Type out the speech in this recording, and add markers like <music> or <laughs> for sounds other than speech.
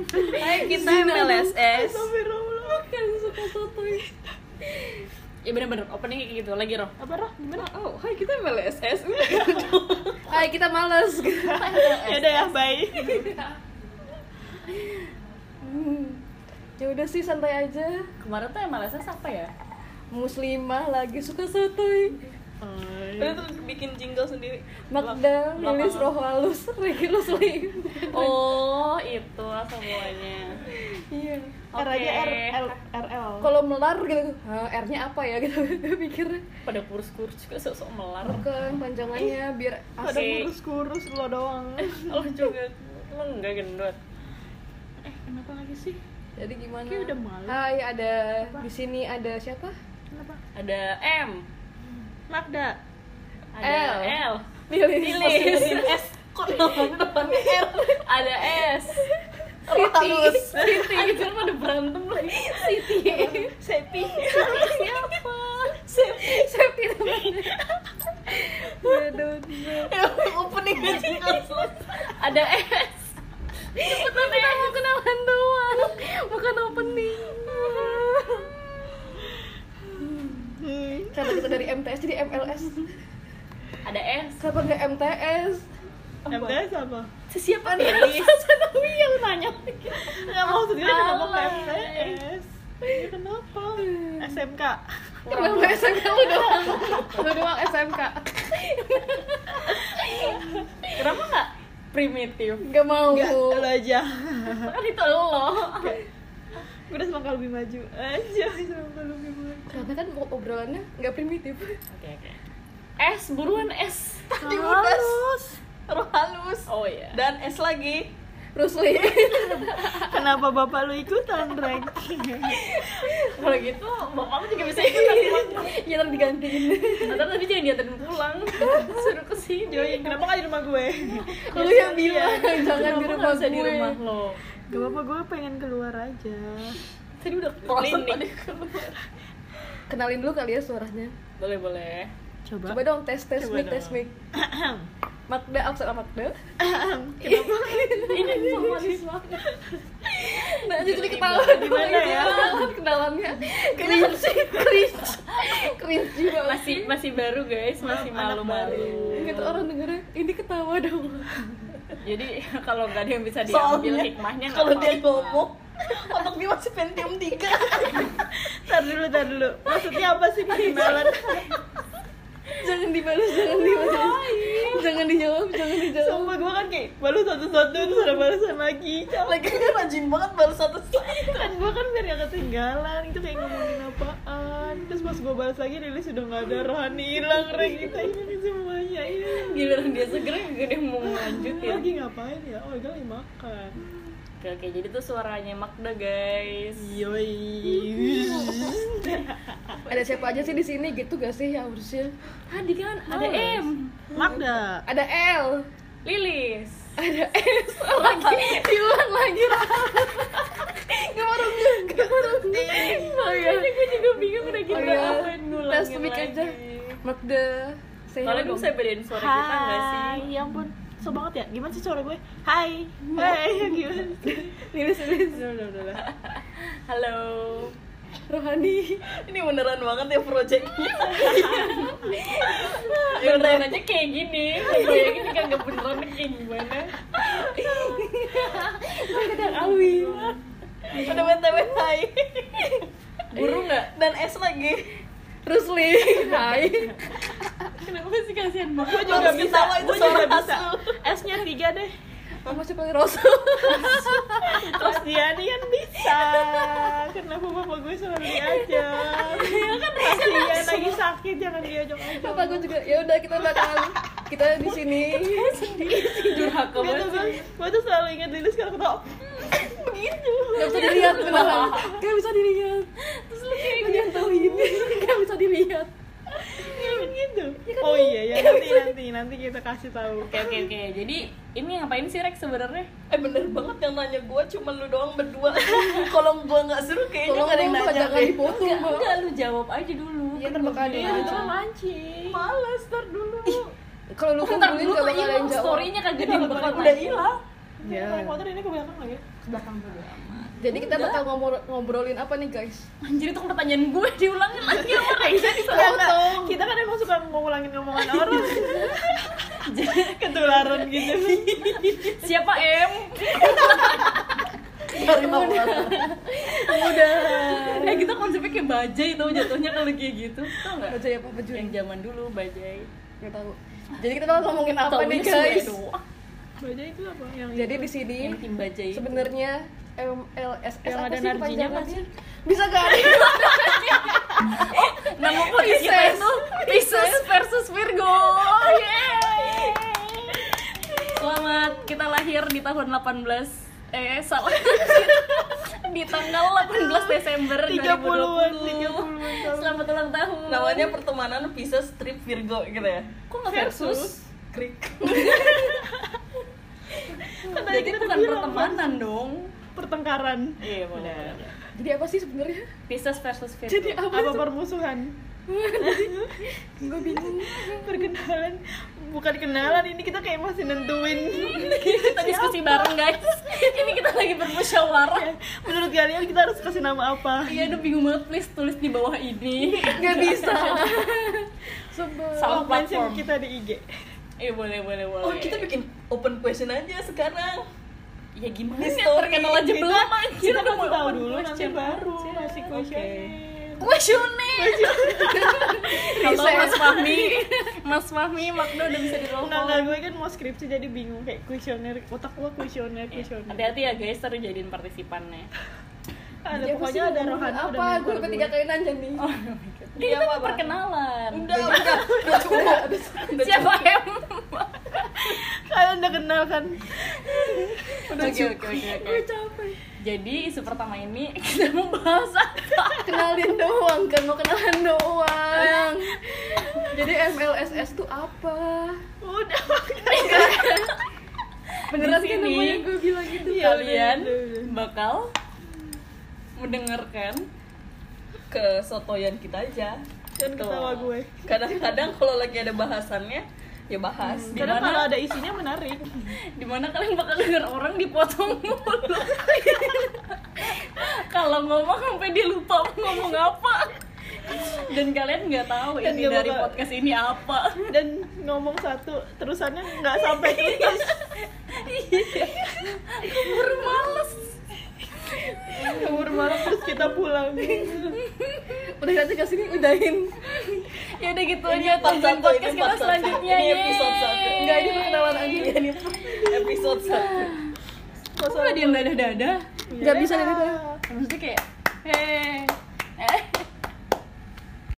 Ayo kita MLSS. Bukan suka sotoy. Ya bener-bener openingnya kayak gitu lagi roh. Apa roh? Gimana? Oh, hai <laughs> kita MLSS. Ay, kita males. ya udah ya, bye. Hmm. Ya udah sih santai aja. Kemarin tuh MLSS apa ya? Muslimah lagi suka sotoy. Udah tuh bikin jingle sendiri. <laughs> Magda, Belak- Lilis, belakangan. Roh Halus, <laughs> Regi Muslim. Oh, itu <laughs> semuanya. Iya. Oke. RL. Kalau melar gitu, "Hah, R-nya apa ya <laughs> gitu gue pikirnya. Pada kurus-kurus juga sok-sok melar. <laughs> Bukan panjangannya biar Oke. Ada kurus-kurus lo doang. Lo Oh, juga lo enggak gendut. Eh, kenapa lagi sih? Jadi gimana? Kayak udah malam. Hai, ada di sini ada siapa? Kenapa? Ada M, Magda. ada L. L, <laughs> Lilis. Lilis, S, kok depannya R, ada S, Siti, Siti, anjir pada berantem lagi, Siti, Sepi. siapa, Siti, Sepi temannya. Aduh. Opening aja. ada S, cepetan kita mau kenalan doang, bukan opening, Hmm. Kenapa kita dari MTS jadi MLS? ada S, Kenapa nggak MTS? MTS apa? siapa nih, <laughs> Lilis. Sanawi yang nanya. Enggak maksudnya kenapa ke Alay. MTS? Ya, Kenapa? SMK. Kenapa SMK lu doang? Lu doang SMK. kenapa nggak primitif, Nggak mau. Enggak, lo aja. kan itu lo, Gue udah semangka lebih maju. Aja, semangka lebih maju. Karena kan obrolannya nggak primitif. Oke oke. S buruan S. Tadi udah. Roh halus. Oh iya. Dan S lagi. Rusli. Kenapa bapak lu ikutan, Rek? Kalau gitu bapak lu juga bisa ikut tapi <laughs> Ya ntar digantiin. <laughs> Ntar tapi jangan diantarin pulang. Suruh ke sini. Joy, kenapa gak di rumah gue? Lu yang Iya, bilang jangan Kenapa di iya. nggak rumah bisa di gue. rumah lo. Gak apa-apa, gue pengen keluar aja Tadi udah Kelakson klinik. tadi. Kenalin dulu kali ya suaranya. Boleh boleh. Coba, Coba dong tes tes Coba mic tes dong. mic. Magda absen sama Magda. Ini informatif banget. Nah, jadi Tiba-tiba. ketahuan Gimana dulu ya? ketahuan kenalannya. Cringe, cringe. Cringe juga masih. Masih masih baru guys, masih Anak malu-malu. Gitu orang dengernya, ini ketawa dong. Jadi <laughs> kalau nggak ada yang bisa diambil hikmahnya nggak apa-apa. otak dia masih Pentium 3 Tar dulu, tar dulu Maksudnya apa sih perkenalan? Jangan dibalas, jangan dibalas. Jangan dijawab, jangan dijawab. <laughs> Sumpah gue kan kayak baru satu-satu terus ada balasan lagi Lagi kan rajin banget baru satu-satu Kan gue kan biar gak ketinggalan Itu kayak ngomongin apaan Terus pas gue balas lagi Lilis udah gak ada rohani hilang Rek Kita ini semuanya iya. Giliran dia segera gak dia mau lanjutin. Lagi ngapain ya? Oh, lagi makan Oke, oke, jadi tuh suaranya Magda guys. Iya. Yoi Ada siapa aja sih di sini gitu gak sih yang harusnya? Tadi kan ada Males. M, <laughs> Magda Ada L, Lilis. ada S lagi, diulang lagi. Gak mau dong, gak mau dong. Oh iya. Makanya <laughs> gue juga bingung udah gitu Oh iya. ngapain ngulangin Tes mic aja. Magda, saya Soalnya gue bisa bedain suara kita gak sih? Hai, ya ampun So banget ya, gimana sih suara gue? Hai Hai, gimana? Lilis, Lilis. Udah, udah, udah, udah <laughs> Halo. Rohani. Ini beneran banget ya <laughs> projectnya Beneran aja kayak gini. Bayangin kan gak beneran kayak gimana. Kadang Alwi. Udah btw, hai Burung gak? Dan S lagi Rusli. Hai. Kenapa sih kasihan banget? Gue juga Harus bisa, ketawa gue juga bisa S-nya tiga deh Kamu masih panggil Rosa. Terus dia nih kan bisa Kenapa bapak gue selalu diajak Pasti dia lagi sakit, jangan diajak-ajak Bapak gue juga. Ya udah kita bakal kita di sini. Durhaka Gue tuh, banget. gue- gue tuh selalu ingat Lilis kalau ketawa Begitu Gak bisa dilihat beneran. Gak bisa dilihat. Terus lu kayak gitu. jangan tahu gitu. ini. Gak bisa dilihat. Iya, begitu. Oh iya ya nanti nanti nanti kita kasih tahu. Oke oke oke. Jadi ini ngapain sih Rex sebenarnya? Eh bener banget yang nanya gue cuma lu doang berdua <laughs> Kalau gue gak seru kayaknya Tolong gak ada yang dong, Mbak, nanya jangan deh. dipotong, Mbak. Enggak lu jawab aja dulu. Iya, Kan ntar bakal ada yang bagus. nanya. mancing. Males ntar dulu Kalau lu Ntar kumpulin dulu gak tuh bakal ada hilang yang jawab. story-nya kagak Nggak di bakal- Udah hilang Kita Ya. naik motor ini ke belakang lagi. ke belakang dulu amat Jadi kita bakal ngomor- ngobrolin apa nih guys? anjir itu pertanyaan gue diulangin lagi sama Reza di Kita, kan- kita kan emang suka ngulangin omongan orang. Ketularan gitu. siapa em dari bawah <laughs> eh kita konsepnya kayak bajai tau jatuhnya kalau kayak gitu tau nggak Baca ya apa yang Jun? zaman dulu bajai Gak tahu. Jadi kita bakal ngomongin apa Taunya nih Sule guys? doang. Baja itu apa? Yang Jadi di sini yang Ah, tim bajai itu. sebenarnya MLSS Yang apa ada sih narjinya nggak kepanjangannya? Bisa gak? nama podcast kita Pisces. itu Pisces versus Virgo Yeay. <laughs> selamat kita lahir di tahun 18 eh salah di tanggal 18 Desember 30-an, 2020 30-an tahun. selamat ulang tahun namanya pertemanan Pisces strip Virgo gitu ya kok nggak versus <laughs> krik Kan tadi jadi kita bukan udah bilang, pertemanan dong Pertengkaran. iya benar Benar. Jadi apa sih sebenarnya? Pisces versus Virgo Jadi apa, permusuhan? Gue bingung. Perkenalan bukan kenalan ini kita kayak masih nentuin. kita diskusi bareng guys ini kita lagi bermusyawarah Menurut kalian kita harus kasih nama apa? iya aduh bingung banget please tulis di bawah ini Gak bisa. Sumpah. Salah Oh, mention platform. kita di IG. iya boleh boleh boleh oh kita bikin open question aja sekarang ya gimana Di ya story. terkenal aja Kita- belum anjir gitu. Kita udah kasih mau tahu open dulu nanti question. baru kasih Oke. questionnya. questionnaire Atau Riset. Mas Fahmi Mas Fahmi Magda udah bisa ditelepon Enggak, enggak, gue kan mau skripsi jadi bingung kayak kuesioner, otak gue kuesioner, kuesioner. hati-hati ya guys ntar jadiin partisipannya Ada Jadi apa pokoknya sih ada ngomongin rohana udah Apa? minta Gue udah Oh. tiga kali nanya nih. Dia Iya, apa, kan mau apa? perkenalan udah udah udah cukup udah siapa em Kalian udah kenal kan? oke oke oke oke jadi isu pertama ini <laughs> kita mau bahas apa Ah, Kenalin doang kan mau kenalan doang. Jadi MLSS tuh apa? Udah. Beneran Di kan sini. namanya gue bilang gitu. Iya, kalian udah, udah, udah. bakal mendengarkan ke sotoyan kita aja Dan ketawa gue. kadang-kadang kalau lagi ada bahasannya ya bahas Di Hmm, Karena mana? kalau ada isinya menarik. dimana kalian bakal denger orang dipotong mulu <laughs> kalau ngomong sampai dia lupa mau ngomong apa dan kalian nggak tahu Dan ini nggak dari bakal- podcast ini apa Dan ngomong satu terusannya nggak sampai Iya. gitu. tuntas. baru males Kabur malam terus kita pulang. Udah nanti kesini udahin. ya udah gitu Ini aja part tungguin satu, podcast ini kita part satu. selanjutnya Ini episode satu. yeay. Enggak ini perkenalan aja. ini tuh episode satu kok nggak gitu ya? ada yang dadah dadah Iya. Nggak bisa dari Dadah. maksudnya kayak eh